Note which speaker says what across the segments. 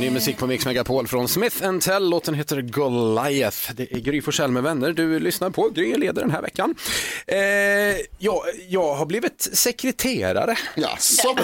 Speaker 1: Ny musik på Mix Megapol från Smith Tell. Låten heter Goliath. Det är Gry Forssell med vänner. Du lyssnar på Gry är leder den här veckan. Eh, jag, jag har blivit sekreterare.
Speaker 2: Ja, så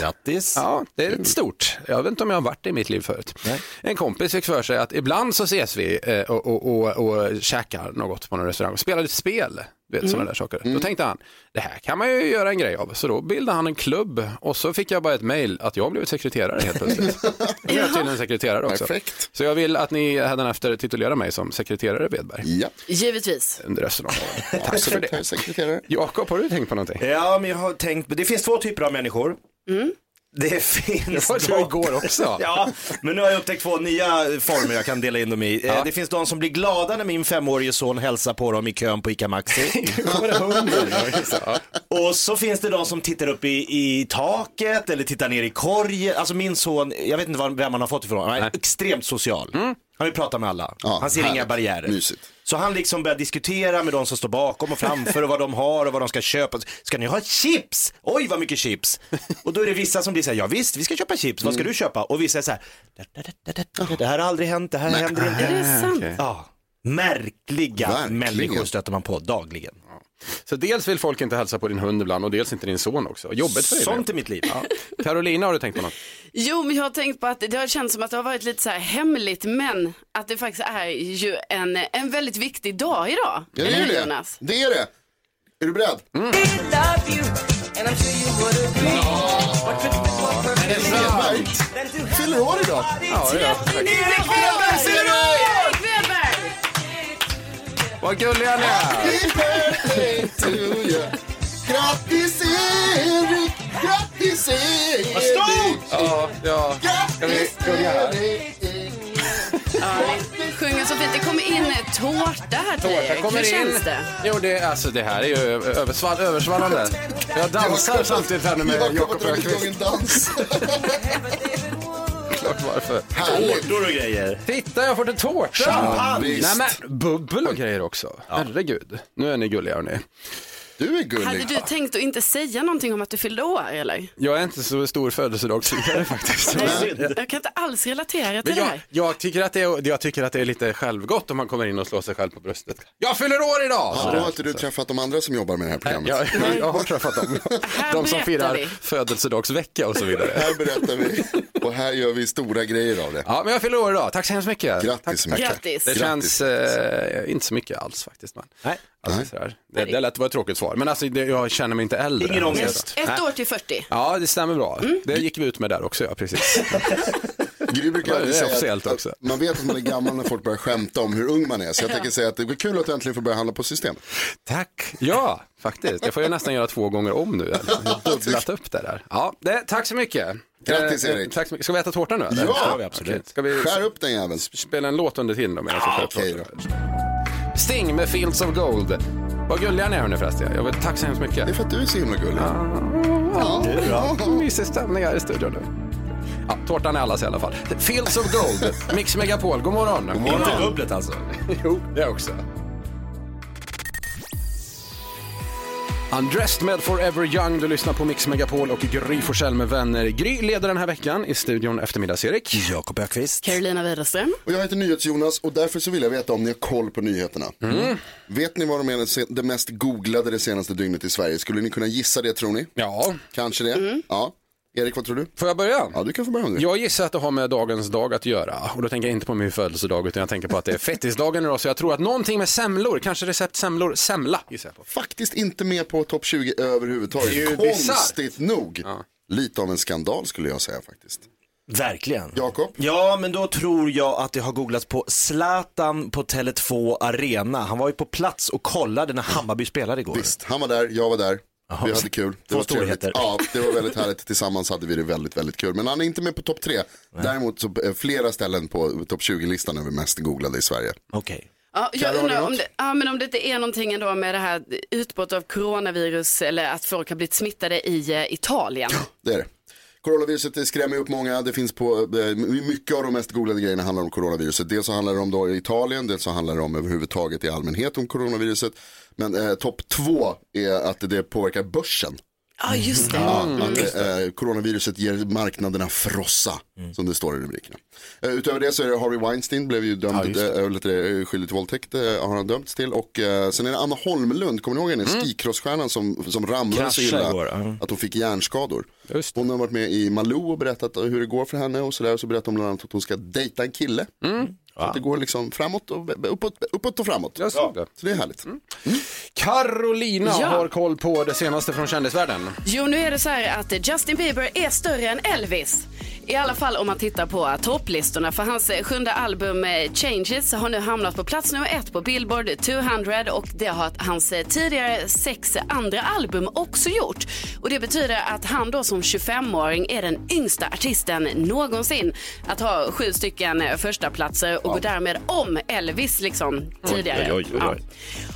Speaker 1: Grattis. Ja, det är stort. Jag vet inte om jag har varit det i mitt liv förut. En kompis fick för sig att ibland så ses vi eh, och, och, och, och käkar något på någon restaurang och spelar lite spel. Du vet, sådana där saker. Då tänkte han, det här kan man ju göra en grej av. Så då bildade han en klubb och så fick jag bara ett mejl att jag har blivit sekreterare helt plötsligt. Nu är jag tydligen sekreterare också.
Speaker 2: Perfekt.
Speaker 1: Så jag vill att ni hädanefter titulerar mig som sekreterare Wedberg
Speaker 2: Ja,
Speaker 3: Givetvis.
Speaker 1: under resten av året. Tack för det.
Speaker 2: sekreterare.
Speaker 1: Jakob, har du tänkt på någonting?
Speaker 4: Ja, men jag har tänkt, det finns två typer av människor. Det finns
Speaker 1: Det var så
Speaker 4: de-
Speaker 1: igår också.
Speaker 4: Ja, men nu har jag upptäckt två nya former jag kan dela in dem i. Eh, Det finns de som blir glada när min femårige son hälsar på dem i kön på ICA Maxi. Och så finns det de som tittar upp i, i taket eller tittar ner i korgen. Alltså min son, jag vet inte var, vem han har fått ifrån, han är extremt social. Han vill prata med alla.
Speaker 2: Mm. Ja,
Speaker 4: han ser inga
Speaker 2: härligt.
Speaker 4: barriärer.
Speaker 2: Mysigt.
Speaker 4: Så han liksom börjar diskutera med de som står bakom och framför och vad de har och vad de ska köpa. Ska ni ha chips? Oj vad mycket chips! Och då är det vissa som blir så här, ja visst vi ska köpa chips, vad ska du köpa? Och vissa är så här, "Da, da, da, da, da, da, det här har aldrig hänt, det här händer inte.
Speaker 3: Det
Speaker 2: Ah,
Speaker 3: är sant.
Speaker 4: Ja. Märkliga
Speaker 2: Verkligen.
Speaker 4: människor stöter man på dagligen.
Speaker 1: Så dels vill folk inte hälsa på din hund ibland och dels inte din son också. Jobbigt för dig.
Speaker 4: Sånt
Speaker 1: det.
Speaker 4: i mitt liv.
Speaker 1: Carolina, har du tänkt på något?
Speaker 3: Jo, men jag har tänkt på att det har känts som att det har varit lite så här hemligt, men att det faktiskt är ju en, en väldigt viktig dag idag.
Speaker 2: Ja, det är
Speaker 3: Eller
Speaker 2: ju
Speaker 3: hur,
Speaker 2: det.
Speaker 3: Jonas?
Speaker 2: Det är det. Är du beredd? Hedberg fyller år idag.
Speaker 3: Erik Wedberg fyller år! Erik Wedberg!
Speaker 1: Vad gulliga ni är!
Speaker 2: Happy birthday to you. Grattis Erik! Grattis Erik! Vad stort!
Speaker 1: Ja, ja.
Speaker 2: Grattis
Speaker 1: Ska vi- ska vi göra?
Speaker 2: Erik!
Speaker 3: Ja, ni sjunger så fint. Det kommer in en tårta här till dig, Erik. Hur känns det?
Speaker 1: Jo, det, alltså, det här är ju översvall, översvallande. Jag dansar samtidigt här nu med
Speaker 2: Jakob har
Speaker 1: Jakob
Speaker 2: dragit igång
Speaker 1: Öqvist.
Speaker 2: en dans.
Speaker 1: Klart varför.
Speaker 2: Härligt.
Speaker 4: Tårtor och grejer.
Speaker 1: Titta, jag har fått en tårta!
Speaker 2: Ja, visst.
Speaker 1: Nej men bubbel och grejer också. Herregud, nu är ni gulliga hörni.
Speaker 2: Du är gullig.
Speaker 3: Hade du tänkt att inte säga någonting om att du fyllde år eller?
Speaker 1: Jag är inte så stor födelsedagsfirare faktiskt.
Speaker 3: Jag kan inte alls relatera till
Speaker 1: Men
Speaker 3: det
Speaker 1: jag,
Speaker 3: här.
Speaker 1: jag, tycker att det är, jag tycker att det är lite självgott om man kommer in och slår sig själv på bröstet. Jag fyller år idag!
Speaker 2: Ja, då har inte du träffat de andra som jobbar med det här programmet.
Speaker 1: Jag, jag har träffat dem.
Speaker 3: Eh, Här
Speaker 1: De som
Speaker 3: berättar
Speaker 1: firar
Speaker 3: vi.
Speaker 1: födelsedagsvecka och så vidare.
Speaker 2: Här berättar vi och här gör vi stora grejer av det.
Speaker 1: Ja, men jag fyller år idag. Tack så hemskt mycket. Tack.
Speaker 2: Grattis så mycket.
Speaker 3: Grattis.
Speaker 1: Det
Speaker 2: Grattis.
Speaker 1: känns eh, inte så mycket alls faktiskt. Men. Nej. Alltså, sådär. Det, det lät vara ett tråkigt svar, men alltså, det, jag känner mig inte äldre.
Speaker 4: Ingen ångest.
Speaker 3: Ett
Speaker 2: Äh.
Speaker 3: år Mm. till 40.
Speaker 1: Ja, det stämmer bra. Det gick vi ut med där också, ja, precis.
Speaker 2: Gry brukar
Speaker 1: Ja, det
Speaker 2: alltid
Speaker 1: är
Speaker 2: säga
Speaker 1: officiellt
Speaker 2: att,
Speaker 1: också.
Speaker 2: att man vet att man är gammal när folk börjar skämta om hur ung man är. Så jag tänker säga att det blir kul att du äntligen får börja handla på system.
Speaker 1: Tack. Ja, faktiskt. Det får jag nästan göra två gånger om nu. eller? Jag har Dubblat upp det där. Ja, det, tack så mycket.
Speaker 2: Grattis,
Speaker 1: Eh, eh,
Speaker 2: Erik.
Speaker 1: Tack så mycket. Ska vi äta tårta nu? Eller?
Speaker 2: Ja,
Speaker 1: Okej.
Speaker 4: absolut.
Speaker 1: Ska vi
Speaker 2: Skär upp den jäveln.
Speaker 1: spela en låt under tiden då? medan jag skär
Speaker 2: okej
Speaker 1: upp tårtan? Sting med Fields of Gold. Vad gulliga ni är hörni förresten. Jag vill, tack så hemskt mycket.
Speaker 2: Det är för att du är så himla gullig. Ja.
Speaker 1: Mysig stämning här i studion nu. Ja, tårtan är allas i alla fall. Fields of Gold, Mix Megapol. God morgon. God
Speaker 4: Inte bubblet alltså.
Speaker 1: Jo, det också. Undressed med Forever Young, du lyssnar på Mix Megapol och Gry Forssell med vänner. Gry leder den här veckan i studion eftermiddags-Erik.
Speaker 4: Jakob Öqvist.
Speaker 3: Carolina Widerström.
Speaker 2: Och jag heter NyhetsJonas och därför så vill jag veta om ni har koll på nyheterna.
Speaker 1: Mm.
Speaker 2: Vet ni vad de är det se- det mest googlade det senaste dygnet i Sverige? Skulle ni kunna gissa det tror ni?
Speaker 1: Ja,
Speaker 2: Kanske det? Ja. Erik, vad tror du?
Speaker 1: får jag börja?
Speaker 2: Ja, du kan få börja om du vill.
Speaker 1: Jag gissar att det har med dagens dag att göra. Och då tänker jag inte på min födelsedag utan jag tänker på att det är fettisdagen idag. Så jag tror att någonting med semlor, kanske recept semlor, semla gissar jag på.
Speaker 2: Faktiskt inte med på topp 20 överhuvudtaget.
Speaker 1: Det är ju
Speaker 2: Konstigt nog. Lite av en skandal skulle jag säga faktiskt.
Speaker 5: Verkligen.
Speaker 2: Jakob?
Speaker 5: Ja, men då tror jag att det har googlats på Zlatan på Tele2 Arena. Han var ju på plats och kollade när Hammarby spelade igår.
Speaker 2: Visst, han var där, jag var där. Vi hade kul. Det
Speaker 5: Två
Speaker 2: var trevligt.
Speaker 5: storheter.
Speaker 2: Ja, det var väldigt härligt. Tillsammans hade vi det väldigt, väldigt kul. Men han är inte med på topp tre. Däremot så eh, flera ställen på topp 20-listan över mest googlade i Sverige.
Speaker 5: Okej.
Speaker 3: Ja, jag
Speaker 2: Karo, har du
Speaker 3: undrar om
Speaker 2: något?
Speaker 3: det, ja, men om det inte är någonting ändå med det här utbrott av coronavirus eller att folk har blivit smittade i eh, Italien.
Speaker 2: Det är det. Coronaviruset det skrämmer upp många. Det finns på, eh, mycket av de mest googlade grejerna handlar om coronaviruset. Dels så handlar det om då Italien, dels så handlar det om överhuvudtaget i allmänhet om coronaviruset. Men eh, topp två är att det påverkar börsen.
Speaker 5: Mm.
Speaker 3: Ja, Mm. just det.
Speaker 2: Ja, att, eh, coronaviruset ger marknaderna frossa,
Speaker 1: Mm.
Speaker 2: som det står i rubrikerna. Eh, utöver det så är det Harvey Weinstein, blev ju dömd, ja, eh, lite, eh, skyldig till våldtäkt, eh, har han dömts till. Och eh, sen är det Anna Holmlund, kommer ni ihåg henne?
Speaker 3: Mm.
Speaker 2: Skikrossstjärnan som, som ramlade så
Speaker 5: Kraschade
Speaker 2: illa
Speaker 5: igår, ja.
Speaker 2: att hon fick hjärnskador.
Speaker 1: Just det.
Speaker 2: Hon har varit med i Malou och berättat eh, hur det går för henne och sådär. Och så berättar hon bland annat att hon ska dejta en kille.
Speaker 3: Mm.
Speaker 2: Så att det går liksom framåt och uppåt, uppåt och framåt.
Speaker 1: Jag såg det.
Speaker 2: Så det är härligt.
Speaker 3: Mm.
Speaker 1: Carolina
Speaker 3: Ja.
Speaker 1: har koll på det senaste från kändisvärlden.
Speaker 3: Jo, nu är det så här att Justin Bieber är större än Elvis. I alla fall om man tittar på topplistorna. För hans eh, sjunde album eh, Changes har nu hamnat på plats nummer ett på Billboard 200 och det har hans eh, tidigare sex andra album också gjort. Och det betyder att han då som 25-åring är den yngsta artisten någonsin att ha sju stycken eh, första platser och går därmed om Elvis liksom tidigare.
Speaker 5: oj, oj, oj.
Speaker 3: Ja.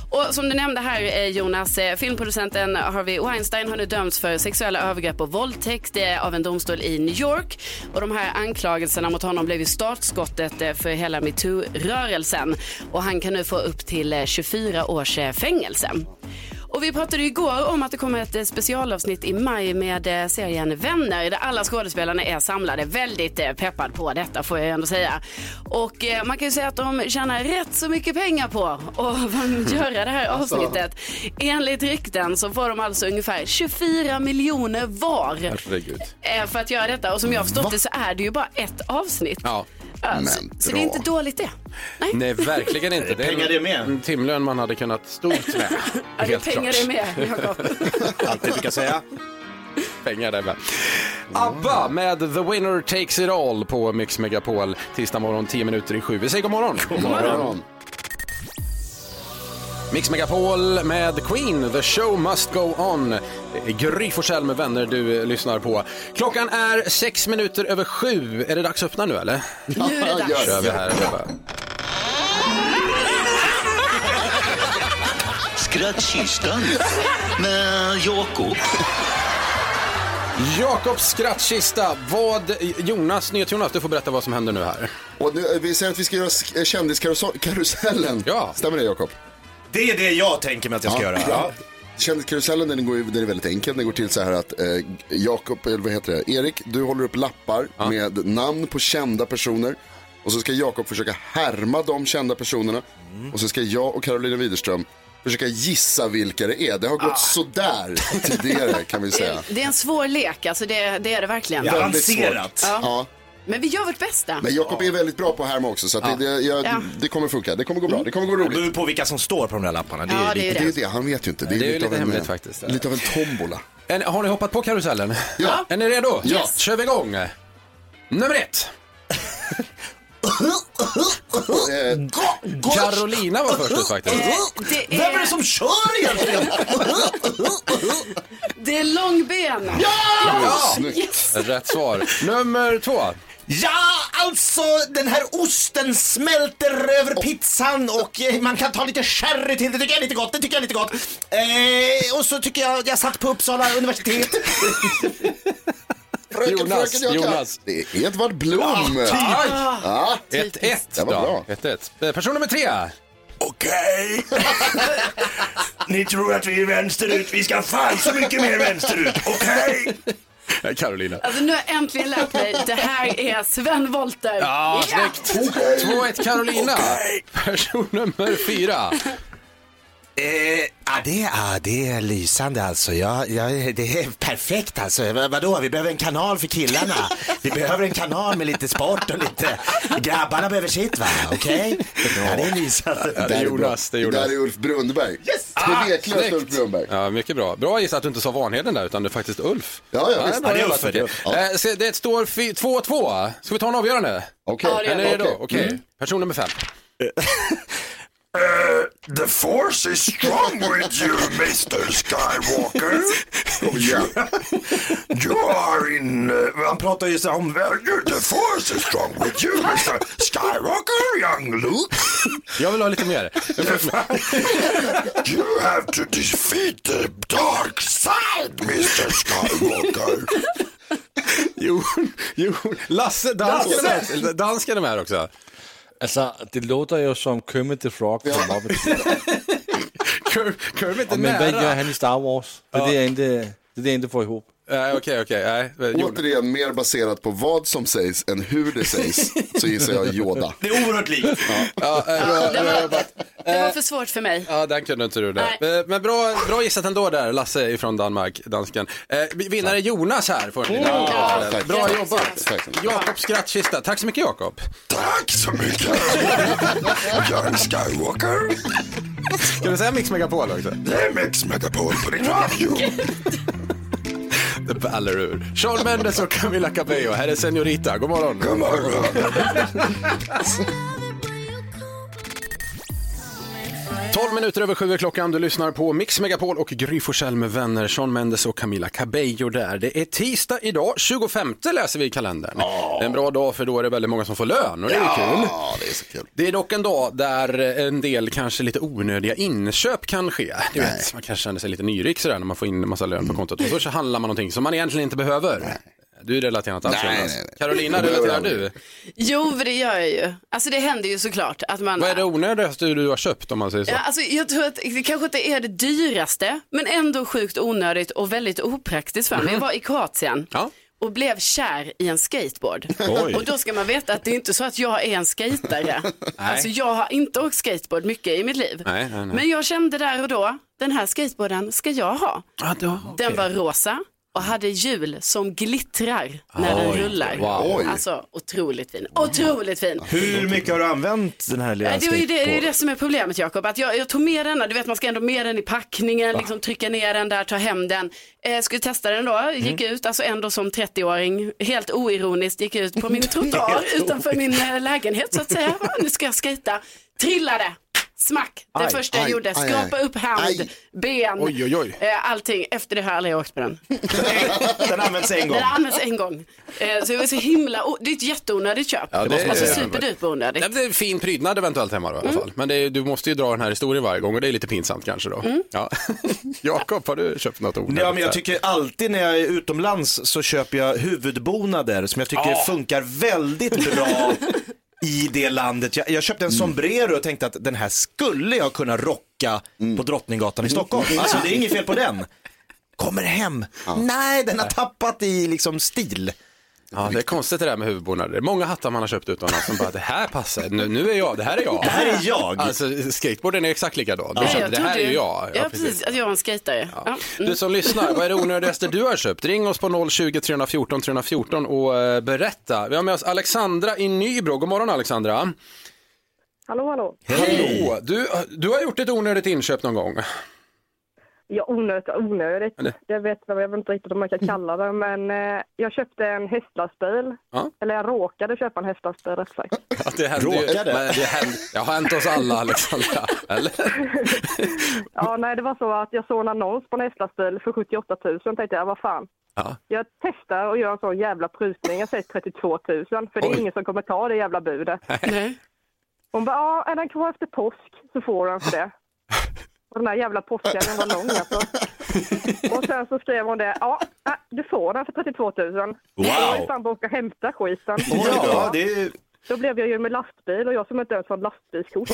Speaker 3: Och som du nämnde här eh, Jonas, eh, filmproducenten Harvey Weinstein har nu dömts för sexuella övergrepp och våldtäkt eh, av en domstol i New York. Och de här anklagelserna mot honom blev ju startskottet eh, för hela metoo-rörelsen. Och han kan nu få upp till eh, 24 års eh, fängelse. Och vi pratade ju igår om att det kommer ett eh, specialavsnitt i maj med eh, serien Vänner där alla skådespelarna är samlade. Väldigt eh, peppad på detta får jag ändå säga. Och eh, man kan ju säga att de tjänar rätt så mycket pengar på att göra det här
Speaker 1: Alltså.
Speaker 3: avsnittet. Enligt rykten så får de alltså ungefär 24 miljoner var
Speaker 1: Herregud.
Speaker 3: eh, för att göra detta. Och som jag har förstått det så är det ju bara ett avsnitt.
Speaker 1: Ja.
Speaker 3: Ja,
Speaker 2: Men
Speaker 3: så, så det är
Speaker 2: bra.
Speaker 3: inte dåligt det. Nej,
Speaker 1: Nej, verkligen inte. Det
Speaker 5: Pengar det med.
Speaker 1: En timlön man hade kunnat stort med.
Speaker 3: Ja, det är
Speaker 1: Helt
Speaker 3: pengar
Speaker 1: klart.
Speaker 3: det med, Jakob.
Speaker 5: Allt det brukar säga.
Speaker 1: pengar där med. ABBA med The Winner Takes It All på Mix Megapol tisdag morgon 10 minuter i sju. Vi säger god morgon. God
Speaker 2: Morgon.
Speaker 1: Mix Megapol med Queen, The Show Must Go On. Det är Gry Forssell med vänner du eh, lyssnar på. Klockan är sex minuter över sju. Är det dags att öppna nu eller?
Speaker 3: Nu är det dags.
Speaker 1: Kör vi här.
Speaker 6: Skrattkistan med Jakob.
Speaker 1: Jakobs skrattkista. Vad, Jonas, Jonas, du får berätta vad som händer nu här.
Speaker 2: Och nu, eh, vi säger att vi ska göra sk- eh, kändiskarusellen.
Speaker 1: Ja.
Speaker 2: Stämmer det Jakob?
Speaker 5: Det är det jag tänker mig att jag ska göra.
Speaker 2: Ja. Kändiskarusellen den, går ju, den är väldigt enkel. Den går till så här att eh, Jakob, eller vad heter det, Erik, du håller upp lappar med namn på kända personer. Och så ska Jakob försöka härma de kända personerna.
Speaker 5: Mm.
Speaker 2: Och så ska jag och Carolina Widerström försöka gissa vilka det är. Det har
Speaker 5: Ah.
Speaker 2: gått sådär tidigare kan vi säga.
Speaker 3: Det är en svår lek, alltså det, det är det verkligen.
Speaker 5: Ja.
Speaker 2: Väldigt svårt.
Speaker 5: Avancerat.
Speaker 2: Ja.
Speaker 3: Men vi gör vårt bästa.
Speaker 2: Men Jakob är väldigt bra på att härma också så att det, det, jag,
Speaker 3: Ja.
Speaker 2: det kommer funka. Det kommer gå bra. Det kommer gå
Speaker 5: Det
Speaker 2: roligt.
Speaker 5: beror på vilka som står på de där lapparna. Det är
Speaker 3: Ja,
Speaker 5: ju
Speaker 3: det är
Speaker 2: Det är
Speaker 3: ju
Speaker 2: ju
Speaker 3: det.
Speaker 2: det, han vet ju inte. Det är,
Speaker 1: Det är ju
Speaker 2: lite, av
Speaker 1: lite
Speaker 2: en,
Speaker 1: hemligt
Speaker 2: eh,
Speaker 1: faktiskt.
Speaker 2: Lite av en tombola.
Speaker 1: En, har ni hoppat på karusellen?
Speaker 2: Ja.
Speaker 1: Är ni redo?
Speaker 2: Ja.
Speaker 1: Kör vi igång. Nummer ett.
Speaker 2: Eh,
Speaker 1: Carolina var först ut faktiskt.
Speaker 3: Eh, Det
Speaker 5: Vem är
Speaker 3: är,
Speaker 5: det som kör egentligen?
Speaker 3: det är långben.
Speaker 2: snyggt.
Speaker 3: Yes.
Speaker 1: Rätt svar. Nummer två.
Speaker 5: Ja, alltså den här osten smälter över pizzan och eh, man kan ta lite sherry till. Det tycker jag är lite gott. Det tycker jag är lite gott. Eh, och så tycker jag, jag satt på Uppsala universitet.
Speaker 2: Fröken,
Speaker 1: Jonas,
Speaker 2: fröken, jag kan.
Speaker 1: Jonas.
Speaker 2: Det är Edvard Blom.
Speaker 1: Aj!
Speaker 2: Ja.
Speaker 1: 1-1
Speaker 2: Det var
Speaker 1: då.
Speaker 2: bra.
Speaker 1: 1-1. Eh, Person nummer tre.
Speaker 5: Okej. Ni tror att vi är vänsterut. Vi ska fan så mycket mer vänsterut. Okej.
Speaker 1: Carolina.
Speaker 3: Alltså nu har jag äntligen lärt mig. Det här är Sven Wollter.
Speaker 1: Ja,
Speaker 3: Ja.
Speaker 1: snyggt. 2-1 Carolina. Person nummer fyra.
Speaker 5: Eh,
Speaker 4: Ja, det, ja, det är lysande alltså. Ja, ja, det är perfekt alltså. V- Vadå, vi behöver en kanal för killarna. Vi behöver en kanal med lite sport och lite... Grabbarna behöver sitt va, okej? Ja, det är lysande.
Speaker 1: det är
Speaker 2: där är
Speaker 1: Jonas,
Speaker 2: bra.
Speaker 1: det är Jonas. Ah,
Speaker 2: där är Ulf Brunnberg. Yes! Tveklöst Ulf Brunnberg.
Speaker 1: Ja, mycket bra. Bra gissat att du inte sa Vanheden där, utan det är faktiskt Ulf.
Speaker 2: Ja, ja, visst.
Speaker 1: bra
Speaker 4: det är
Speaker 1: jobbat,
Speaker 4: Ulf, det är
Speaker 1: Ulf. Eh, ska- Det står fy- 2-2. Ska vi ta en avgörande?
Speaker 2: Okej.
Speaker 3: Ja, det
Speaker 1: Eller är det då?
Speaker 2: Okej. Mm.
Speaker 1: Okej. Person nummer fem.
Speaker 7: The force is strong with you, Mr. Skywalker. Oh, yeah. You are in... Uh, han pratar ju så om... The force is strong with you, Mr. Skywalker, young Luke.
Speaker 1: Jag vill ha lite mer.
Speaker 7: You have to defeat the dark side, Mr. Skywalker.
Speaker 1: jo, jo. Lasse, dansken är med. Dansken är med också.
Speaker 8: Altså, det låter jo som Kermit the Frog fra Muppet.
Speaker 1: Kerm- Kermit är
Speaker 8: Men hvad gør
Speaker 1: nära.
Speaker 8: han i Star Wars? Det er det, jeg ikke, det, er det, jeg ikke får ihop.
Speaker 1: Nej, Eh, Okej, okej. nej. Jonas.
Speaker 2: Återigen mer baserat på vad som sägs än hur det sägs så gissar jag Yoda.
Speaker 4: Det är oerhört likt.
Speaker 3: Det var, det var för svårt för mig.
Speaker 1: Ja, den kunde inte du där.
Speaker 3: Nej.
Speaker 1: Eh, Men bra, bra gissat ändå där, Lasse från Danmark, dansken. Eh, vinnare Jonas här får ni.
Speaker 3: Ja.
Speaker 2: Tack.
Speaker 1: Bra
Speaker 2: Tack.
Speaker 1: jobbat.
Speaker 2: Tack.
Speaker 1: Jakobs skrattkista. Tack så mycket Jakob.
Speaker 7: Tack så mycket, young Skywalker.
Speaker 1: Ska du säga Mix Megapol också?
Speaker 7: Det är Mix Megapol på din radio.
Speaker 1: The Ballerur. Sean Mendes och Camila Cabello. Här är Senorita. God morgon.
Speaker 7: God morgon.
Speaker 1: 12 minuter över sju är klockan. Du lyssnar på Mix Megapol och Gry Forssell med vänner. Sean Mendes och Camila Cabello där. Det är tisdag idag. 25 läser vi i kalendern. Det är en bra dag för då är det väldigt många som får lön och det är ju kul.
Speaker 2: Ja, det är så kul.
Speaker 1: Det är dock en dag där en del kanske lite onödiga inköp kan ske. Du vet, man kanske känner sig lite nyrik sådär när man får in en massa lön på
Speaker 2: Mm.
Speaker 1: kontot och så, så handlar man någonting som man egentligen inte behöver. Du relaterar inte alls
Speaker 2: Nej,
Speaker 1: Jonas.
Speaker 2: nej, nej.
Speaker 1: Carolina,
Speaker 2: Det behöver
Speaker 1: relaterar
Speaker 2: jag
Speaker 1: du?
Speaker 3: Jo, för det gör jag ju. Alltså det händer ju såklart att man...
Speaker 1: Vad är det onödigaste du har köpt om man säger så?
Speaker 3: Ja, alltså, jag tror att det kanske inte är det dyraste, men ändå sjukt onödigt och väldigt opraktiskt för mig. Jag var i Kroatien.
Speaker 1: Mhm. Ja.
Speaker 3: och blev kär i en skateboard.
Speaker 4: Oj.
Speaker 3: Och då ska man veta att det är inte så att jag är en skatare. Alltså jag har inte åkt skateboard mycket i mitt liv.
Speaker 1: Nej, nej, nej.
Speaker 3: Men jag kände där och då, den här skateboarden ska jag ha.
Speaker 1: Ah, då,
Speaker 3: Den var rosa och hade hjul som glittrar när den rullar.
Speaker 2: Oj.
Speaker 3: Alltså otroligt fin. Otroligt fin.
Speaker 4: Hur mycket har du använt den här lilla
Speaker 3: Nej, Det, var ju det, det är
Speaker 4: skateboarden?
Speaker 3: det som är problemet Jakob, att jag, jag tog med den, här. du vet man ska ändå med den i packningen, liksom, trycka ner den där, ta hem den. Eh, skulle testa den då, gick ut, alltså ändå som 30-åring, helt oironiskt gick ut på min trottoar utanför min eh, lägenhet så att säga. Va, Nu ska jag skejta, trillade. Smack, det
Speaker 2: Aj,
Speaker 3: första jag
Speaker 2: aj,
Speaker 3: gjorde,
Speaker 2: aj, aj.
Speaker 3: skrapa upp hand,
Speaker 2: Aj.
Speaker 3: ben,
Speaker 1: Oj, oj, oj.
Speaker 3: Eh, allting. Efter det har jag aldrig åkt på den.
Speaker 4: Den används en gång.
Speaker 3: Den används en gång. Eh, så det var så himla, o- det är ett jätteonödigt köp.
Speaker 1: Ja, det är-
Speaker 3: alltså superduper onödigt.
Speaker 1: Nej, men det är en fin prydnad eventuellt hemma då, i alla fall. Men det är, du måste ju dra den här historien varje gång och det är lite pinsamt kanske då. Ja. Jakob, har du köpt något onödigt?
Speaker 4: Ja, men jag
Speaker 1: där?
Speaker 4: tycker alltid när jag är utomlands så köper jag huvudbonader som jag tycker funkar väldigt bra i det landet. Jag, jag köpte en sombrero och tänkte att den här skulle jag kunna rocka på Drottninggatan i Stockholm. Alltså det är inget fel på den. Kommer hem, nej den har tappat i liksom stil.
Speaker 1: Ja, det är konstigt det där med huvudbonader. Det är många hattar man har köpt utomlands som bara, det här passar, nu, nu är jag, det här är jag.
Speaker 4: Det här är jag.
Speaker 1: Alltså skateboarden är exakt likadan. Du
Speaker 3: Ja,
Speaker 1: köpte,
Speaker 3: jag
Speaker 1: det här
Speaker 3: trodde
Speaker 1: är ju
Speaker 3: ju-
Speaker 1: jag.
Speaker 3: Ja, precis. Att jag var en skejtare. Ja. Mm.
Speaker 1: Du som lyssnar, vad är det onödigaste du har köpt? Ring oss på 020 314 314 och eh, berätta. Vi har med oss Alexandra i Nybro. God morgon Alexandra.
Speaker 9: Hallå, hallå.
Speaker 1: Hallå! Du, du har gjort ett onödigt inköp någon gång.
Speaker 9: Ja, onödigt och onödigt.
Speaker 1: Eller?
Speaker 9: Jag vet vad jag vet inte riktigt om man kan kalla det, men eh, jag köpte en hästlastbil.
Speaker 1: Ja.
Speaker 9: Eller jag råkade köpa en hästlastbil rätt sagt.
Speaker 1: Att det hände ju, men
Speaker 4: Råkade.
Speaker 1: det, hände, det har hänt oss alla Alexandra. Eller?
Speaker 9: Ja, nej, det var så att jag såg en annons på en hästlastbil för 78 000. Tänkte jag, vad fan.
Speaker 1: Ja.
Speaker 9: Jag testar och gör en sån jävla prutning. Jag säger 32 000, för det är
Speaker 1: Oj.
Speaker 9: ingen som kommer ta det jävla budet.
Speaker 3: Nej.
Speaker 9: Hon bara, ja, är den kvar efter påsk så får han för det. Och den här jävla påsken, den var lång alltså. Och sen så skrev hon det, ja, äh, du får den för 32 000. Wow! Jag fan bara åka och hämta skiten.
Speaker 4: Ja, det är...
Speaker 9: Då blev jag ju med lastbil och jag som inte ens har lastbilskort.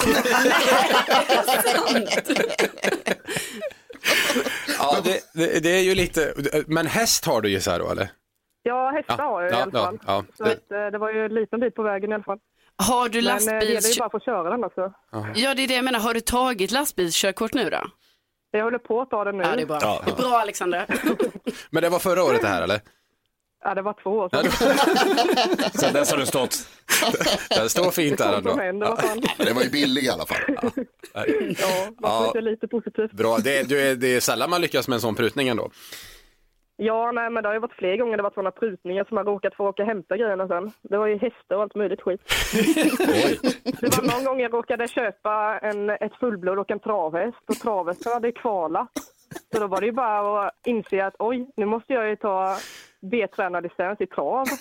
Speaker 1: Ja, det, det, det är ju lite, men häst har du ju så här då eller?
Speaker 9: Ja, hästar har jag i
Speaker 1: Ja,
Speaker 9: alla fall.
Speaker 1: ja, ja.
Speaker 9: Så att, eh, det var ju en liten bit på vägen i alla fall.
Speaker 3: Har du
Speaker 9: Men eh, det gäller ju
Speaker 3: lastbils...
Speaker 9: bara att få köra den alltså.
Speaker 3: Ja, det är det jag menar. Har du tagit lastbilskörkort nu då?
Speaker 10: Jag håller på att ta den nu.
Speaker 3: Ja, det är bra.
Speaker 1: Ja.
Speaker 3: Det är bra, Alexandra.
Speaker 1: Men det var förra året det här eller?
Speaker 10: Ja, det var två år sedan.
Speaker 1: Sen dess har du stått. Den står fint
Speaker 10: Det
Speaker 1: där
Speaker 10: kom
Speaker 1: ändå.
Speaker 10: från händer, vad fan.
Speaker 2: Det var ju billig i alla fall.
Speaker 10: Ja, man får
Speaker 1: Ja.
Speaker 10: inte lite positivt.
Speaker 1: Bra, det är, du är, det är sällan man lyckas med en sån prutning ändå.
Speaker 10: Ja, nej, men det har ju varit fler gånger det har varit sådana prutningar som man råkat få åka och hämta grejerna sen. Det var ju hästar och allt möjligt skit. det var någon gång jag råkade köpa en, ett fullblod och en travhäst och travhästen hade ju kvala. Så då var det ju bara att inse att oj, nu måste jag ju ta B-tränarlicens i trav. Så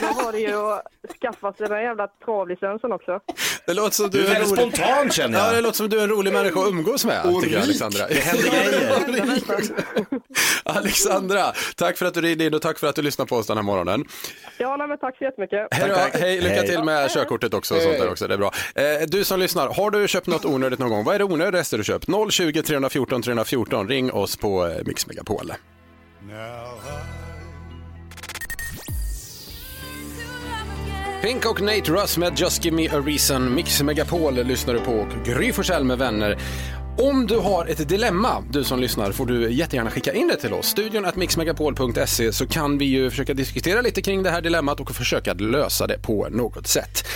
Speaker 10: då var det ju att skaffa sig den jävla travlicensen också.
Speaker 1: Det låter som
Speaker 5: Du är
Speaker 1: en
Speaker 5: väldigt
Speaker 1: rolig-
Speaker 5: spontan, känner jag.
Speaker 1: Ja, det låter som du är en rolig människa att umgås med,
Speaker 5: Och
Speaker 1: tycker jag,
Speaker 5: rik.
Speaker 1: Alexandra.
Speaker 5: Det händer
Speaker 1: Alexandra, tack för att du ringde in och tack för att du lyssnar på oss den här morgonen.
Speaker 10: Ja, nej, men tack så jättemycket.
Speaker 1: Hej, då. hej lycka till med körkortet också och sånt
Speaker 10: Hej.
Speaker 1: där också, det är bra. Eh, du som lyssnar, har du köpt något onödigt någon gång? Vad är det onödigaste du köpt? 020 314 314, ring oss på eh, Mix Megapol. Pink och Nate Russ med Just Give Me A Reason. Mix Megapol lyssnar du på och Gry Forssell med vänner. Om du har ett dilemma, du som lyssnar, får du jättegärna skicka in det till oss. Studion at mixmegapol.se så kan vi ju försöka diskutera lite kring det här dilemmat och försöka lösa det på något sätt.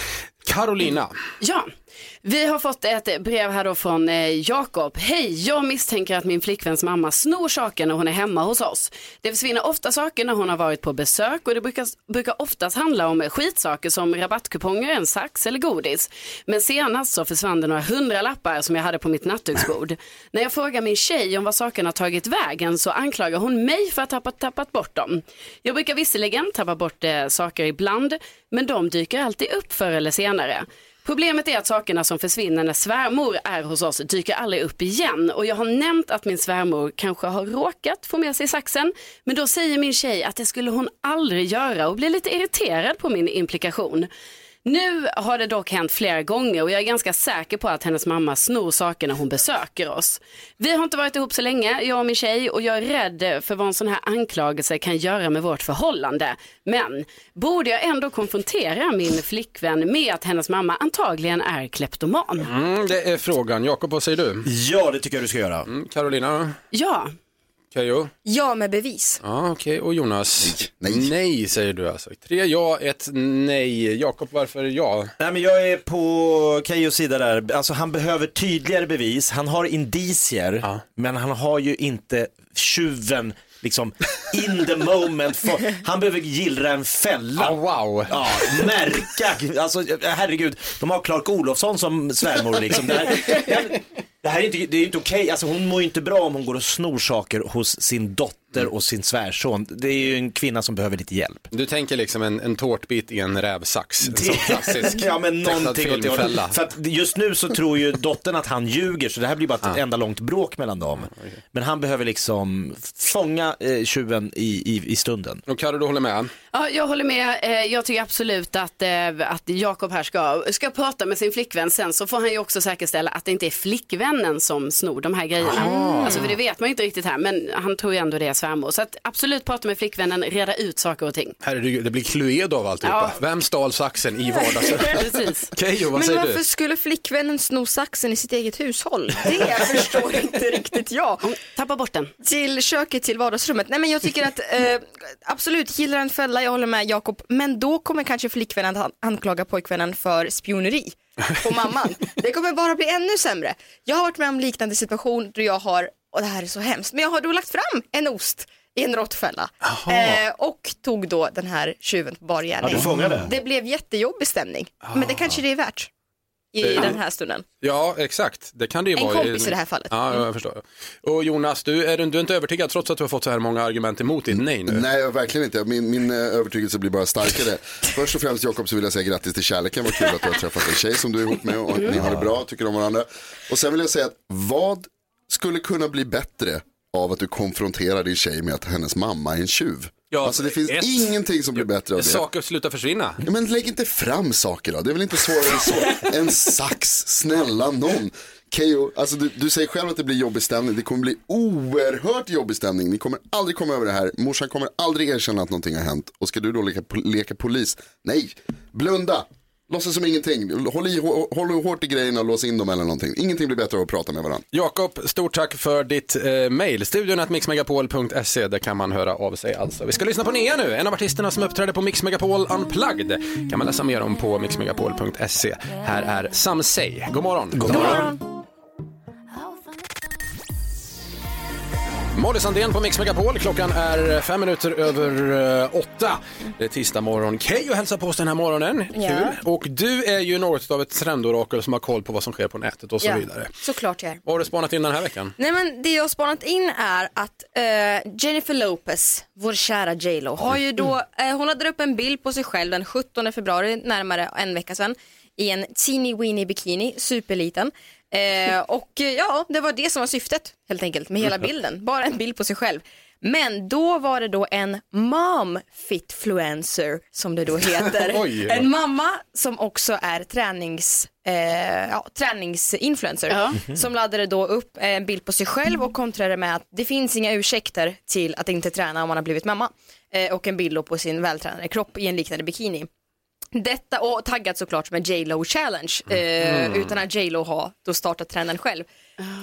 Speaker 1: Carolina,
Speaker 3: Ja, vi har fått ett brev här då från eh, Jakob. Hej, jag misstänker att min flickväns mamma snor saker när hon är hemma hos oss. Det försvinner ofta saker när hon har varit på besök och det brukar, brukar oftast handla om skitsaker som rabattkuponger, en sax eller godis. Men senast så försvann det några hundra lappar som jag hade på mitt nattduksbord. när jag frågar min tjej om vad sakerna har tagit vägen så anklagar hon mig för att ha tappat, tappat bort dem. Jag brukar visserligen tappa bort eh, saker ibland, men de dyker alltid upp förr eller senare. Problemet är att sakerna som försvinner när svärmor är hos oss dyker aldrig upp igen och jag har nämnt att min svärmor kanske har råkat få med sig saxen men då säger min tjej att det skulle hon aldrig göra och blir lite irriterad på min implikation. Nu har det dock hänt flera gånger och jag är ganska säker på att hennes mamma snor saker när hon besöker oss. Vi har inte varit ihop så länge, jag och min tjej, och jag är rädd för vad en sån här anklagelse kan göra med vårt förhållande. Men borde jag ändå konfrontera min flickvän med att hennes mamma antagligen är kleptoman?
Speaker 1: mm, det är frågan. Jakob, vad säger du?
Speaker 5: Ja, det tycker jag du ska göra.
Speaker 1: Mm, Carolina,
Speaker 3: Ja.
Speaker 1: Kayo?
Speaker 4: Ja, med bevis.
Speaker 1: Ja, okej. Och Jonas? Nej. säger du alltså. Tre ja, ett nej. Jakob, varför ja?
Speaker 5: Nej, men jag är på Keyos sida där. Alltså, han behöver tydligare bevis. Han har indicier, men han har ju inte tjuven liksom in the moment. För... Han behöver gillra en fälla.
Speaker 1: wow.
Speaker 5: Ja, märka. Alltså, herregud, de har Clark Olofsson som svärmor liksom. Det här, det här är inte, det är inte okej. Alltså, hon mår ju inte bra om hon går och snor saker hos sin dotter och sin svärson. Det är ju en kvinna som behöver lite hjälp.
Speaker 1: Du tänker liksom en, en tårtbit i en rävsax. En sån klassisk
Speaker 5: ja, men
Speaker 1: tecknad
Speaker 5: någonting åt det hållet.
Speaker 1: filmfälla.
Speaker 5: För att just nu så tror ju dottern att han ljuger så det här blir bara ett
Speaker 1: Ah.
Speaker 5: enda långt bråk mellan dem. Men han behöver liksom fånga eh, tjuven i, i, i stunden.
Speaker 1: Och Carro, du håller med?
Speaker 3: Ja, jag håller med. Eh, Jag tycker absolut att, eh, att Jakob här ska, ska prata med sin flickvän. Sen så får han ju också säkerställa att det inte är flickvännen som snor de här grejerna.
Speaker 4: Ah.
Speaker 3: Alltså, för det vet man ju inte riktigt här, men han tror ju ändå det är svärmor. Så att absolut prata med flickvännen, reda ut saker och ting.
Speaker 1: Herregud, det blir Cluedo av alltihopa. Vem stal saxen i vardagsrummet?
Speaker 3: Precis.
Speaker 1: Keyyo, vad
Speaker 4: Men
Speaker 1: säger
Speaker 4: varför
Speaker 1: du?
Speaker 4: skulle flickvännen sno saxen i sitt eget hushåll? Det förstår inte riktigt jag.
Speaker 3: Tappa bort den.
Speaker 4: Till köket, till vardagsrummet. Nej men jag tycker att eh, absolut, gillar en fälla, jag håller med Jakob. Men då kommer kanske flickvännen att an- anklaga pojkvännen för spioneri på mamman. Det kommer bara bli ännu sämre. Jag har varit med om liknande situation då jag har, och det här är så hemskt, men jag har då lagt fram en ost i en råttfälla eh, och tog då den här tjuven på bar gärning.
Speaker 1: Ja, du fångade. Ah.
Speaker 4: Det blev jättejobbig stämning, men det kanske det är värt i
Speaker 1: Ja.
Speaker 4: den här stunden.
Speaker 1: Ja, exakt. Det kan det ju
Speaker 4: En
Speaker 1: vara.
Speaker 4: kompis i det här fallet.
Speaker 1: Ja, jag förstår. Och Jonas, du är, du är inte övertygad trots att du har fått så här många argument emot ditt nej nu?
Speaker 2: Nej, verkligen inte. Min, min eh, övertygelse blir bara starkare. Först och främst Jakob så vill jag säga grattis till kärleken. Vad kul att du har träffat en tjej som du är ihop med och att ni har det bra, tycker om varandra. Och sen vill jag säga att vad skulle kunna bli bättre av att du konfronterar din tjej med att hennes mamma är en tjuv?
Speaker 1: Ja,
Speaker 2: alltså det finns
Speaker 1: ett-
Speaker 2: ingenting som blir bättre av det.
Speaker 1: Saker slutar försvinna.
Speaker 2: Ja, Men lägg inte fram saker då, det är väl inte svårare än så. En sax, snälla någon. Keyyo, alltså du, du säger själv att det blir jobbig stämning, det kommer bli oerhört jobbig stämning. Ni kommer aldrig komma över det här, morsan kommer aldrig erkänna att någonting har hänt. Och ska du då leka, po- leka polis? Nej, blunda. Låtsas som ingenting. Håll, i, håll hårt i grejerna och lås in dem eller någonting. Ingenting blir bättre av att prata med varandra.
Speaker 1: Jakob, stort tack för ditt eh, mejl. Studion att mixmegapol.se, där kan man höra av sig alltså. Vi ska lyssna på Nea nu, en av artisterna som uppträdde på Mix Megapol Unplugged. kan man läsa mer om på mixmegapol.se. Här är Sam Say. God morgon. God morgon. Molly Sandén på Mix Megapol. Klockan är fem minuter över eh, åtta. Det är tisdag morgon. Keyyo hälsar på oss den här morgonen.
Speaker 4: Ja.
Speaker 1: Kul. Och du är ju något av ett trendorakel som har koll på vad som sker på nätet och så
Speaker 4: Ja,
Speaker 1: vidare.
Speaker 4: Såklart jag är.
Speaker 1: Vad har du spanat in den här veckan?
Speaker 4: Nej men det jag har spanat in är att eh, Jennifer Lopez, vår kära J Lo, har ju då, eh, hon laddade upp en bild på sig själv den 17 februari, närmare en vecka sedan, i en teeny weeny bikini, superliten. Eh, och eh, ja, det var det som var syftet helt enkelt med hela bilden, bara en bild på sig själv. Men då var det då en momfitfluencer som det då heter.
Speaker 11: Oj.
Speaker 4: en mamma som också är tränings, eh, ja, träningsinfluencer Mhm.
Speaker 11: Ja.
Speaker 4: som laddade då upp en bild på sig själv och kontrade med att det finns inga ursäkter till att inte träna om man har blivit mamma eh, och en bild då på sin vältränade kropp i en liknande bikini. Detta och taggat såklart med J Lo challenge eh,
Speaker 11: Mm. Ah.
Speaker 4: utan att J Lo har då startat tränaren själv.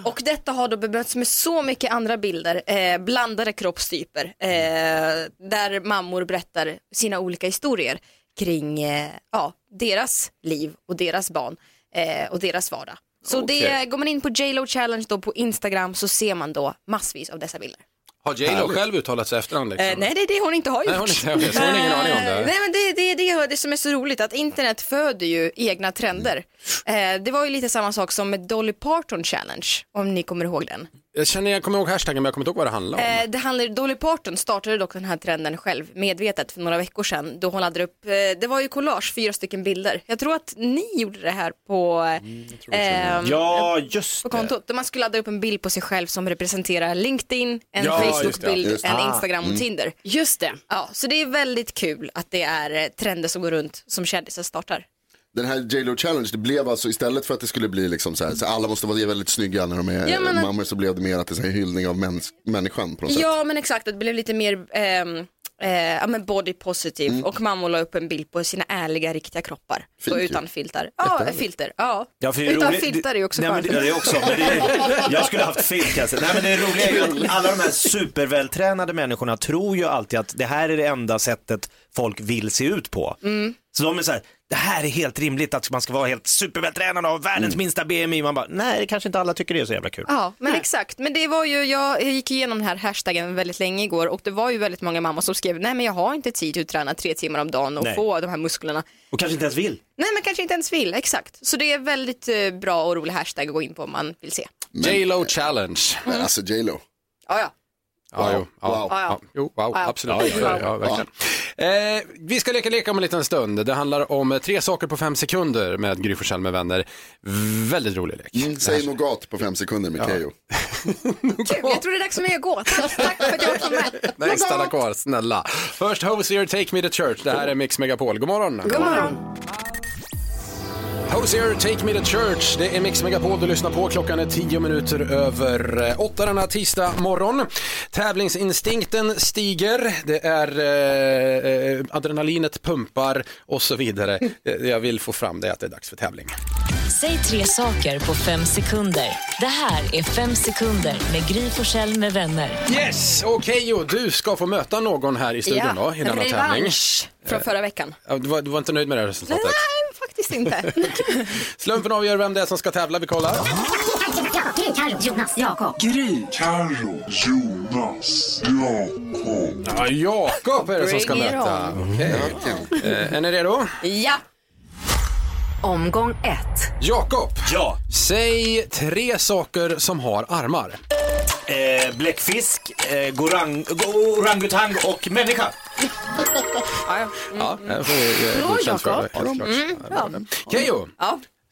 Speaker 4: Och detta har då bemötts med så mycket andra bilder, eh, blandade kroppstyper eh,
Speaker 11: Mm.
Speaker 4: där mammor berättar sina olika historier kring eh, ja, deras liv och deras barn eh, och deras vardag. Så det,
Speaker 1: Okej.
Speaker 4: går man in på J Lo challenge då på Instagram så ser man då massvis av dessa bilder.
Speaker 1: Har J.Lo
Speaker 4: Härligt.
Speaker 1: själv uttalat sig efterhand? Liksom?
Speaker 4: Eh, nej, det är det hon inte har gjort.
Speaker 1: Nej, hon inte har gjort det, så hon har ingen aning om det.
Speaker 4: Eh, Nej, men det är det, är det, det som är så roligt, att internet föder ju egna trender.
Speaker 1: Mm.
Speaker 4: Eh, det var ju lite samma sak som med Dolly Parton Challenge, om ni kommer ihåg den.
Speaker 1: Jag känner, jag kommer ihåg hashtaggen men jag kommer inte ihåg vad det handlar om.
Speaker 4: Eh, det handlar, Dolly Parton startade dock den här trenden själv, medvetet, för några veckor sedan, då hon laddade upp, eh, det var ju collage, fyra stycken bilder. Jag tror att ni gjorde det här på,
Speaker 1: Mm,
Speaker 4: eh,
Speaker 5: Ja, just
Speaker 4: på kontot, där man skulle ladda upp en bild på sig själv som representerar LinkedIn, en
Speaker 5: Ja, just det,
Speaker 4: Facebook-bild,
Speaker 5: ja, just det.
Speaker 4: en
Speaker 5: Ah.
Speaker 4: Instagram och
Speaker 5: Mm.
Speaker 4: Tinder.
Speaker 3: Just det.
Speaker 4: Ja, så det är väldigt kul att det är eh, trender som går runt som kändisar startar.
Speaker 2: Den här J Lo Challenge, det blev alltså istället för att det skulle bli liksom så här, så alla måste vara väldigt snygga när de är
Speaker 4: Ja, men-
Speaker 2: mammor så blev det mer att det är så här hyllning av mäns- människan på något sätt.
Speaker 4: Ja men exakt, det blev lite mer ehm, eh, ja, men body positive
Speaker 2: Mm.
Speaker 4: och mammor la upp en bild på sina ärliga riktiga kroppar.
Speaker 2: Fint
Speaker 4: och
Speaker 2: ju.
Speaker 4: utan filtar. Ja,
Speaker 2: Jättehärligt.
Speaker 4: filter. Ja.
Speaker 5: Ja, för det är
Speaker 4: utan
Speaker 5: roligt-
Speaker 4: filtar är ju också
Speaker 5: Nej, men
Speaker 4: skönt.
Speaker 5: det, ja, det är också, men det är, jag skulle haft filt kanske. Nej men det roliga är ju att alla de här supervältränade människorna tror ju alltid att det här är det enda sättet folk vill se ut på.
Speaker 4: Mm.
Speaker 5: Så de är så här, det här är helt rimligt att man ska vara helt supervältränad och ha världens minsta BMI. Man bara, nej det kanske inte alla tycker det är så jävla kul.
Speaker 4: Ja, men exakt. Men det var ju, jag gick igenom den här hashtaggen väldigt länge igår och det var ju väldigt många mammor som skrev nej men jag har inte tid att träna tre timmar om dagen och
Speaker 5: Nej.
Speaker 4: få de här musklerna.
Speaker 5: Och kanske inte ens vill.
Speaker 4: Nej men kanske inte ens vill, exakt. Så det är väldigt eh, bra och rolig hashtag att gå in på om man vill se.
Speaker 1: J.Lo challenge.
Speaker 2: Men alltså J Lo.
Speaker 4: Ja, ja.
Speaker 1: Ja, jo, ja,
Speaker 2: Wow.
Speaker 1: ja. Jo, wow,
Speaker 2: Ja, ja.
Speaker 1: absolut.
Speaker 2: Ja,
Speaker 1: Ja,
Speaker 2: ja,
Speaker 1: ja,
Speaker 2: ja.
Speaker 1: verkligen. Eh, vi ska leka leka om en liten stund. Det handlar om eh, tre saker på fem sekunder med Gry Forssell med vänner. Väldigt rolig lek.
Speaker 2: Mm, säg nogat på fem sekunder med E Keyyo.
Speaker 4: Kul, jag tror det är dags för mig att gå. Tack tack för att jag kom med.
Speaker 1: Nej, stanna kvar, snälla. First Hosier, Take Me To Church. Det här är Mix Megapol. God morgon.
Speaker 4: God morgon.
Speaker 1: Hosier, Take Me To Church. Det är Mix Megapol du lyssnar på. Klockan är tio minuter över eh, åtta denna tisdag morgon. Tävlingsinstinkten stiger. Det är eh, eh, adrenalinet pumpar och så vidare. Eh, Jag vill få fram det att det är dags för tävling.
Speaker 12: Säg tre saker på fem sekunder. Det här är Fem sekunder med Gry Forssell med vänner.
Speaker 1: Yes! Okej, och du ska få möta någon här i studion då, i denna tävling.
Speaker 4: revansch från förra veckan.
Speaker 1: Ja, Du var, du var inte nöjd med det här
Speaker 4: Nej,
Speaker 1: resultatet?
Speaker 4: nej, faktiskt inte.
Speaker 1: Slumpen avgör vem det är som ska tävla. Vi kollar.
Speaker 11: Gry, Carro, Jonas, Jakob. Gry, Carro, Jonas, Jakob.
Speaker 1: Ja, Jakob är det som ska
Speaker 11: Bring it
Speaker 1: möta. Okej. Eh, Är ni redo?
Speaker 4: Ja.
Speaker 11: Omgång ett.
Speaker 1: Jakob, ja. säg tre saker som har armar.
Speaker 5: Eh, bläckfisk, eh, gorang, go- orangutang och människa.
Speaker 1: Mm, Ja, det får vi, eh,
Speaker 5: Bra,
Speaker 1: godkänt för.
Speaker 5: Jakob.
Speaker 1: Ja, det är klart.
Speaker 5: Mm,
Speaker 1: Ja, det är bra. Keyyo,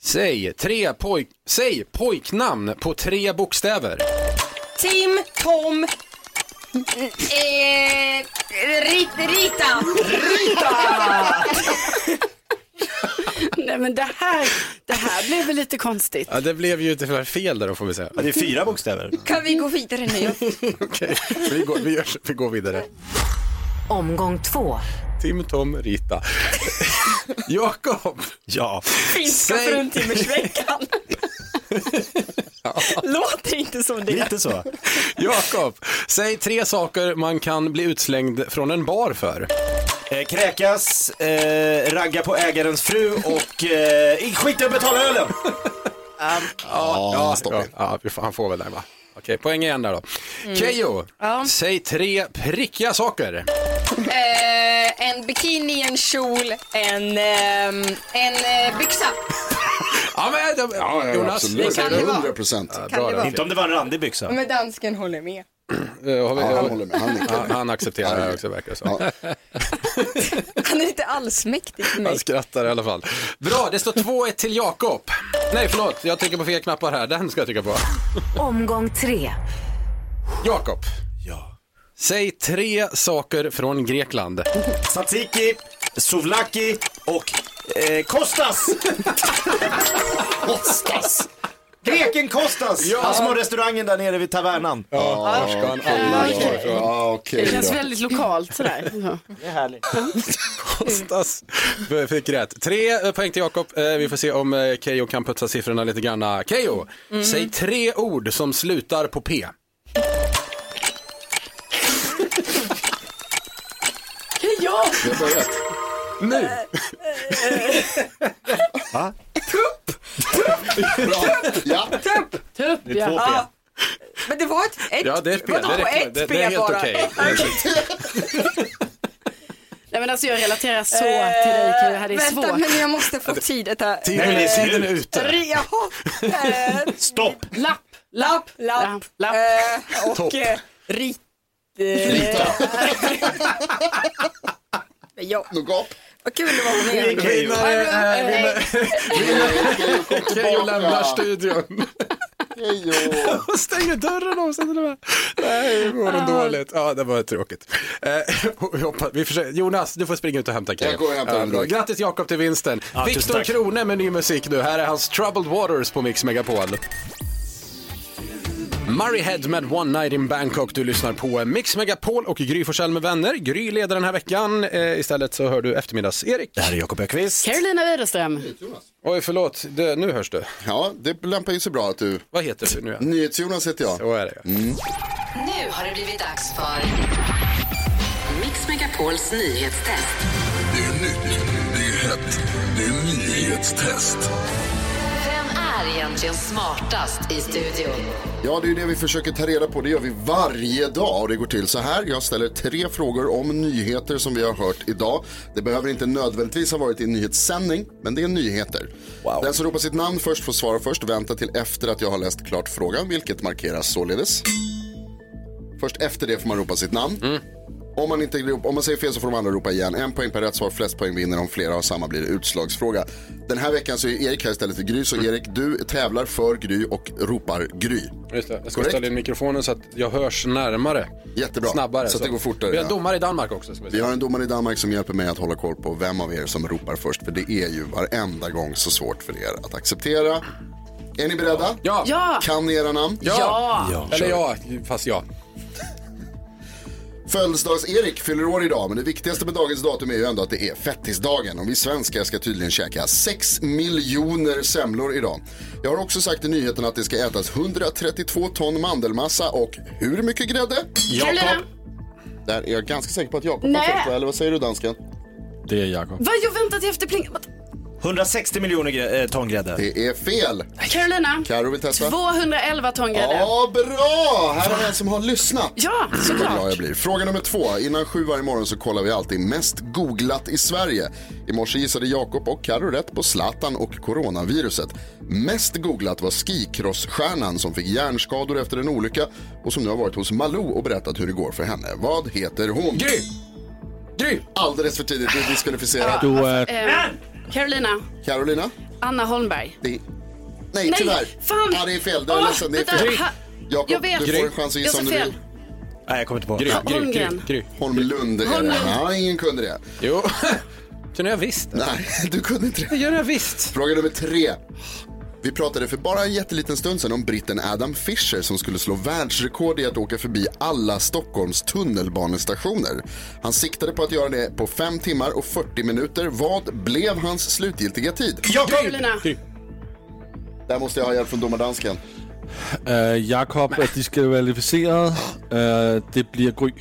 Speaker 1: säg, tre pojk, säg pojknamn på tre bokstäver.
Speaker 4: Tim, Tom, eh, Rit, Rita.
Speaker 3: Nej men det här, det här blev väl lite konstigt.
Speaker 1: Ja, det blev ju tyvärr fel där då får vi säga.
Speaker 5: det är fyra bokstäver.
Speaker 4: Kan vi gå vidare nu?
Speaker 1: Okej, vi, går, vi, gör, så- vi går vidare.
Speaker 11: Omgång två.
Speaker 1: Timtom Rita. Jakob. Ja.
Speaker 4: Finska
Speaker 1: Säg-
Speaker 4: fruntimmersveckan. Låter inte som det.
Speaker 1: Lite så. Jakob, säg tre saker man kan bli utslängd från en bar för.
Speaker 5: Eh, kräkas, eh, ragga på ägarens fru och eh, skit i att betala ölen.
Speaker 1: Ja, ja, ja, ja vi får- han får väl den va? Okej, poäng igen där då.
Speaker 4: Mm.
Speaker 1: Keyyo,
Speaker 4: Ja.
Speaker 1: säg tre prickiga saker.
Speaker 4: Eh, en bikini, en kjol, en, ehm, en eh, byxa.
Speaker 1: Ja, men, de,
Speaker 2: ja,
Speaker 1: Jonas,
Speaker 2: absolut.
Speaker 1: det kan det vara.
Speaker 2: 100 procent.
Speaker 1: bra
Speaker 4: det
Speaker 1: då.
Speaker 4: vara.
Speaker 5: Inte om det var en randig byxa.
Speaker 4: Men dansken håller med.
Speaker 1: Eh, har vi-
Speaker 2: Ja, han
Speaker 1: har-
Speaker 2: håller med. Han nickar.
Speaker 1: Ja, han accepterar det här också verkar det som.
Speaker 4: Han är inte allsmäktig för mig.
Speaker 1: Han skrattar i alla fall. Bra, det står 2-1 till Jakob. Nej, förlåt, jag trycker på fel knappar här. Den ska jag trycka på.
Speaker 11: Omgång tre.
Speaker 1: Jakob. Ja. Säg tre saker från Grekland.
Speaker 5: Tzatziki, souvlaki och eh, Kostas! Kostas! Greken Kostas!
Speaker 3: Ja.
Speaker 5: Han som har restaurangen där nere vid tavernan.
Speaker 1: Ja, där ska han alla
Speaker 5: okej.
Speaker 1: ta ifrån.
Speaker 5: Ja, okej
Speaker 3: Det känns
Speaker 5: då.
Speaker 3: väldigt lokalt sådär. Det är härligt.
Speaker 1: Kostas. Vi Fick rätt. Tre eh, poäng till Jakob. Eh, Vi får se om eh, Keyyo kan putsa siffrorna lite grann. Keyyo,
Speaker 3: Mm.
Speaker 1: säg tre ord som slutar på P.
Speaker 4: Ja!
Speaker 2: Jag får rätt.
Speaker 1: Nu!
Speaker 5: Va?
Speaker 2: Ja.
Speaker 4: Tupp! Tupp,
Speaker 1: Det är två ja. P.
Speaker 4: Men det var ett, ett
Speaker 1: Ja, det är ett P.
Speaker 4: Vadå,
Speaker 1: Det räcker.
Speaker 4: ett
Speaker 1: Det- det
Speaker 4: P
Speaker 1: är helt
Speaker 4: bara?
Speaker 1: okej.
Speaker 3: Nej men alltså jag relaterar så till dig Keyyo, det här är
Speaker 4: Vänta,
Speaker 3: svårt.
Speaker 4: men jag måste få tid. Detta.
Speaker 3: Tiden är-
Speaker 4: Eh,
Speaker 3: tiden är ute.
Speaker 4: re- Jaha. Eh,
Speaker 5: Stopp.
Speaker 4: Lapp. Lapp. Lapp. Eh, och
Speaker 5: Topp.
Speaker 4: eh, rit... eh, Men jag...
Speaker 2: Nougat.
Speaker 4: Vad kul det var
Speaker 1: Vi
Speaker 4: med.
Speaker 1: kvinnar är- är-
Speaker 4: Eh,
Speaker 1: Keyyo lämnar studion. Och stänger dörren om sig till och med. Nej, det går det dåligt. Ja, det var tråkigt. Eh, vi hoppas- vi försöker, Jonas, du får springa ut och hämta Keyyo.
Speaker 2: Jag går och hämtar den
Speaker 1: bra.
Speaker 2: direkt.
Speaker 1: Grattis Jakob till vinsten.
Speaker 2: Ja, tusen
Speaker 1: Viktor
Speaker 2: tack.
Speaker 1: Krone med ny musik nu. Här är hans Troubled Waters på Mix Megapol. Murrayhead med One Night in Bangkok. Du lyssnar på Mix Megapol och Gry Forssell med vänner. Gry leder den här veckan. Eh, istället så hör du eftermiddags-Erik. Det
Speaker 5: här är Jakob Öqvist.
Speaker 3: Carolina Widerström.
Speaker 1: Oj, förlåt. Det, nu hörs du.
Speaker 2: Ja, det lämpar ju sig bra att du...
Speaker 1: Vad heter du nu igen?
Speaker 2: Nyhets-Jonas heter jag.
Speaker 1: Så är det.
Speaker 2: Mm.
Speaker 11: Nu har det blivit dags för Mix Megapols nyhetstest.
Speaker 13: Det är nyhetstest.
Speaker 11: Vem är egentligen smartast i studion?
Speaker 2: Ja, det är ju det vi försöker ta reda på. Det gör vi varje dag och det går till så här. Jag ställer tre frågor om nyheter som vi har hört idag. Det behöver inte nödvändigtvis ha varit i en nyhetssändning, men det är nyheter. Den som ropar sitt namn först får svara först. Vänta till efter att jag har läst klart frågan, vilket markeras således. Först efter det får man ropa sitt namn. Om, man inte, om man säger fel så får de andra ropa igen. En poäng per rätt svar, flest poäng vinner. Om flera har samma blir det utslagsfråga. Den här veckan så är Erik här istället för Gry. Så
Speaker 1: Mm.
Speaker 2: Erik, du tävlar för Gry och ropar Gry.
Speaker 1: Just det. Jag ska
Speaker 2: Korrekt.
Speaker 1: ställa in mikrofonen så att jag hörs närmare.
Speaker 2: Jättebra.
Speaker 1: Snabbare.
Speaker 2: Så att det går fortare,
Speaker 1: Vi har
Speaker 2: ja.
Speaker 1: domare i Danmark också. Ska vi
Speaker 2: Vi
Speaker 1: säga.
Speaker 2: har en domare i Danmark som hjälper mig att hålla koll på vem av er som ropar först. För det är ju varenda gång så svårt för er att acceptera. Är ni beredda?
Speaker 1: Ja.
Speaker 3: Ja.
Speaker 2: Kan ni era namn?
Speaker 1: Ja. Eller
Speaker 2: Kör.
Speaker 1: ja, fast ja.
Speaker 2: Födelsedags-Erik fyller år idag, men det viktigaste med dagens datum är ju ändå att det är fettisdagen. Och vi svenskar ska tydligen käka 6 miljoner semlor idag. Jag har också sagt i nyheten att det ska ätas 132 ton mandelmassa och hur mycket grädde?
Speaker 3: Carolina.
Speaker 2: Där är jag ganska säker på att Jakob
Speaker 3: Nej.
Speaker 2: har först, va? eller vad säger du dansken?
Speaker 14: Det är Jakob.
Speaker 3: Vad jag väntar till efter pling.
Speaker 5: 160 miljoner grä- eh, ton grädde.
Speaker 2: Det är fel.
Speaker 3: Carolina.
Speaker 2: Karo vill testa.
Speaker 3: 211 ton grädde.
Speaker 2: Ja, bra! Här har vi en som har lyssnat.
Speaker 3: Ja,
Speaker 2: Vad
Speaker 3: såklart.
Speaker 2: glad jag blir. Fråga nummer två. Innan sju varje morgon så kollar vi alltid mest googlat i Sverige. I morse gissade Jakob och Carro rätt på Zlatan och coronaviruset. Mest googlat var skikrossstjärnan som fick hjärnskador efter en olycka och som nu har varit hos Malou och berättat hur det går för henne. Vad heter hon? Gry!
Speaker 1: Gry!
Speaker 2: Alldeles för tidigt. Du diskvalificerad.
Speaker 1: Ah.
Speaker 3: Eh, Carolina.
Speaker 2: Carolina?
Speaker 3: Anna Holmberg.
Speaker 2: Det är... Nej, tyvärr.
Speaker 3: Fan.
Speaker 2: Ja, det är fel. Det är
Speaker 3: Åh,
Speaker 2: ledsen. Det är
Speaker 3: vänta,
Speaker 2: fel.
Speaker 3: ha- jag
Speaker 2: Jakob,
Speaker 3: vet.
Speaker 2: du får en chans att
Speaker 3: Jag
Speaker 2: gissa
Speaker 3: sa
Speaker 2: om du
Speaker 3: fel.
Speaker 2: vill.
Speaker 5: Nej, jag kommer inte på.
Speaker 1: Gry, Gry, Holmgren. Gry,
Speaker 2: Holmlund är det.
Speaker 1: Holmlund.
Speaker 2: Nej, ingen kunde det.
Speaker 1: Jo, kunde jag visst.
Speaker 2: Nej, du kunde inte det.
Speaker 1: Det gör jag visst.
Speaker 2: Fråga nummer tre. Vi pratade för bara en jätteliten stund sedan om britten Adam Fischer som skulle slå världsrekord i att åka förbi alla Stockholms tunnelbanestationer. Han siktade på att göra det på 5 timmar och 40 minuter. Vad blev hans slutgiltiga tid?
Speaker 3: Jakob! Carolina.
Speaker 2: Där måste jag ha hjälp från domardansken.
Speaker 14: Uh, Jakob er diskvalificeret. Øh, det bliver Gry.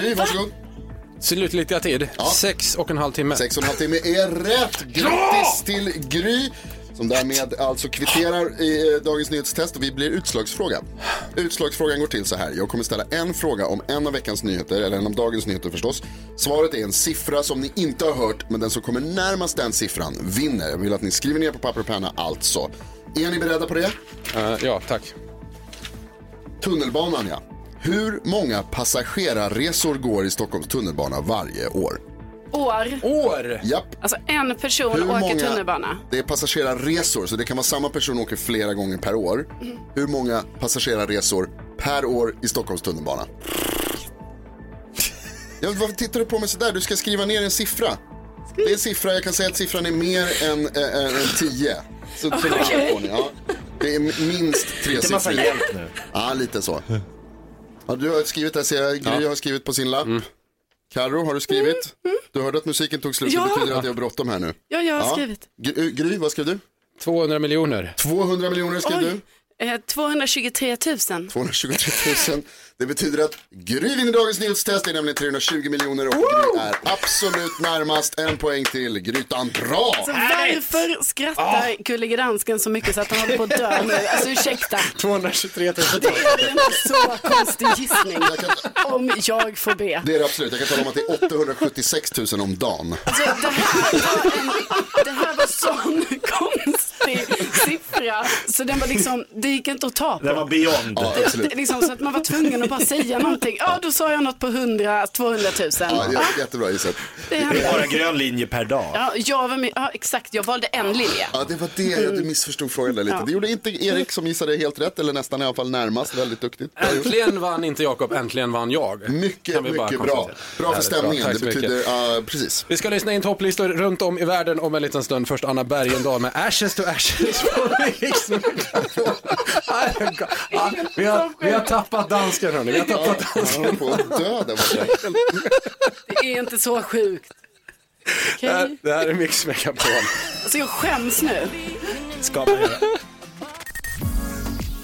Speaker 2: Gry, varsågod.
Speaker 1: Slutgiltiga tid? Sex och en halv timme.
Speaker 2: Sex och en halv timme är rätt. Grattis till Gry som därmed alltså kvitterar i eh, dagens nyhetstest och vi blir utslagsfråga. Utslagsfrågan går till så här. Jag kommer ställa en fråga om en av veckans nyheter, eller en av dagens nyheter förstås. Svaret är en siffra som ni inte har hört, men den som kommer närmast den siffran vinner. Jag vill att ni skriver ner på papper och penna alltså. Är ni beredda på det?
Speaker 1: Eh, ja, tack.
Speaker 2: Tunnelbanan ja. Hur många passagerarresor går i Stockholms tunnelbana varje år?
Speaker 3: År.
Speaker 1: År?
Speaker 2: Japp.
Speaker 3: Alltså en person
Speaker 2: Hur
Speaker 3: åker
Speaker 2: många-
Speaker 3: tunnelbana.
Speaker 2: Det är passagerarresor, så det kan vara samma person åker flera gånger per år. Hur många passagerarresor per år i Stockholms tunnelbana? Ja, varför tittar du på mig sådär? Du ska skriva ner en siffra. Det är en siffra, jag kan säga att siffran är mer än, äh, äh, än tio. Så, så
Speaker 13: Okej.
Speaker 2: där får ni, ja. Det är minst tre
Speaker 13: Lite massa
Speaker 2: siffror.
Speaker 13: hjälp nu.
Speaker 2: Ja, lite så. Ja, du har skrivit det, ser jag. Gry har skrivit på sin lapp.
Speaker 13: Mm.
Speaker 2: Karo har du skrivit? Du hörde att musiken tog slut,
Speaker 3: Mm, Ja.
Speaker 2: det betyder att jag har bråttom här nu.
Speaker 3: Ja, jag har skrivit.
Speaker 2: Gry, eh, Gry, vad skrev du?
Speaker 1: 200 miljoner.
Speaker 2: 200 miljoner skrev du.
Speaker 3: Eh, 223 000.
Speaker 2: 223 000. Det betyder att Gry vinner dagens nyhetstest. Det är nämligen 320 miljoner och Gry är absolut närmast. En poäng till Grytan. Bra!
Speaker 3: Alltså, varför
Speaker 2: Ah.
Speaker 3: skrattar gullige dansken så mycket så att han håller på att dö nu? Alltså ursäkta.
Speaker 1: 223 000.
Speaker 3: Det är väl inte så konstig gissning om jag får be.
Speaker 2: Det är det absolut. Jag kan tala om att det är 876 000 om dagen.
Speaker 3: Alltså, det, här var en, det här var sån konstig siffra så den var liksom, det gick inte att ta på.
Speaker 5: Det var beyond.
Speaker 2: Ja, absolut.
Speaker 3: Det är liksom så att man var tvungen att bara säga någonting. Ja, då sa jag något på 100, 200 000.
Speaker 2: Ja,
Speaker 3: Ja,
Speaker 2: jä- jättebra gissat.
Speaker 3: Det är bara
Speaker 5: grön linje per dag.
Speaker 3: ja, jag var med, ja, exakt, jag valde en linje.
Speaker 2: Ja, det var det. Jag du missförstod frågan där lite.
Speaker 3: Ja.
Speaker 2: Det gjorde inte Erik som gissade helt rätt, eller nästan i alla fall närmast. Väldigt duktigt. Bra gjort.
Speaker 1: Äntligen vann inte Jakob, äntligen vann jag.
Speaker 2: Mycket,
Speaker 1: Kan vi bara
Speaker 2: mycket bra.
Speaker 1: konstatera.
Speaker 2: Bra för
Speaker 1: Härligt,
Speaker 2: stämningen.
Speaker 1: Tack
Speaker 2: Det
Speaker 1: så mycket.
Speaker 2: betyder, ja, precis.
Speaker 1: Vi ska lyssna in topplistor runt om i världen om en liten stund. Först Anna Bergendahl med Ashes to Ashes. Ja, vi, har, vi har tappat dansken hörni. Vi har tappat dansken.
Speaker 2: Han på att dö där borta.
Speaker 3: Det är inte så sjukt.
Speaker 1: Det här- Det här är Mix Megapol.
Speaker 3: Alltså jag skäms nu.
Speaker 1: Ska man göra.